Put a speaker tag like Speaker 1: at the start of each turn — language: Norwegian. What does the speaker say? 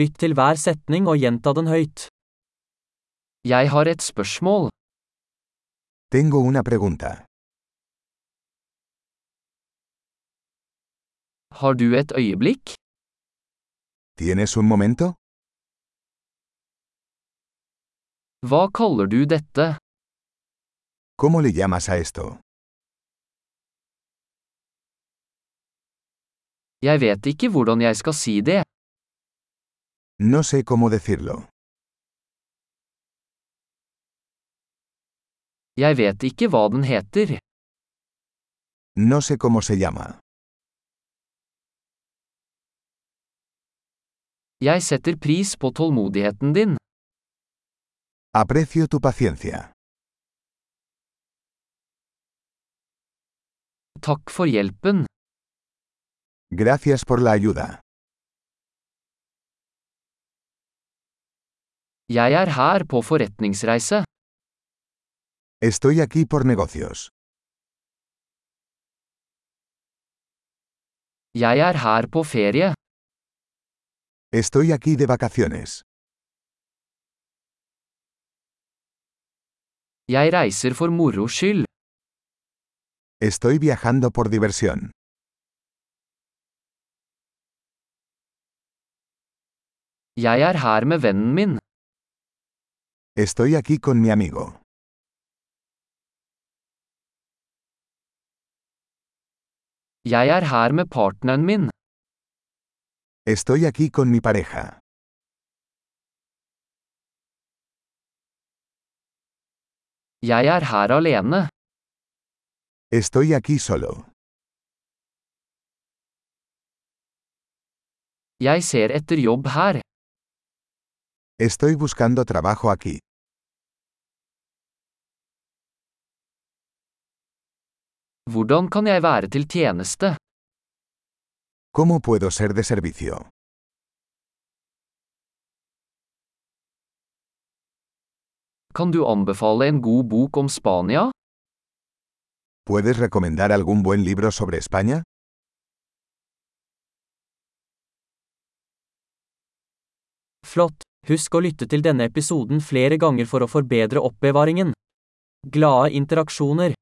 Speaker 1: Lytt til hver setning og gjenta den høyt. Jeg har et spørsmål.
Speaker 2: Tengo una pregunta.
Speaker 1: Har du et øyeblikk?
Speaker 2: ¿Tienes un momento?
Speaker 1: Hva kaller du dette?
Speaker 2: ¿Cómo le llamas a esto?
Speaker 1: Jeg vet ikke hvordan jeg skal si det.
Speaker 2: No sé cómo decirlo.
Speaker 1: Jeg vet ikke hva den heter.
Speaker 2: No sé cómo se llama.
Speaker 1: Jeg setter pris på tålmodigheten din.
Speaker 2: Aprecio tu paciencia.
Speaker 1: Takk for hjelpen.
Speaker 2: Gracias por la ayuda.
Speaker 1: Jeg er her på forretningsreise.
Speaker 2: Estoy aquí por negocios.
Speaker 1: Jeg er her på ferie.
Speaker 2: Estoy aquí de vacaciones.
Speaker 1: Jeg reiser for moro skyld.
Speaker 2: Estoy viajando por diversión.
Speaker 1: Jeg er her med vennen min.
Speaker 2: Estoy aquí con mi amigo.
Speaker 1: Jeg er her med partneren min.
Speaker 2: Estoy aquí con mi pareja.
Speaker 1: Jeg er her alene.
Speaker 2: Estoy aquí solo.
Speaker 1: Jeg ser etter jobb her.
Speaker 2: Estoy buscando trabajo aquí.
Speaker 1: Hvordan kan jeg være til tjeneste?
Speaker 2: ¿Cómo puedo ser de servicio?
Speaker 1: Kan du anbefale en god bok om Spania?
Speaker 2: ¿Puedes recomendar algún buen libro sobre España?
Speaker 1: Flott! Husk å lytte til denne episoden flere ganger for å forbedre oppbevaringen. Glade interaksjoner!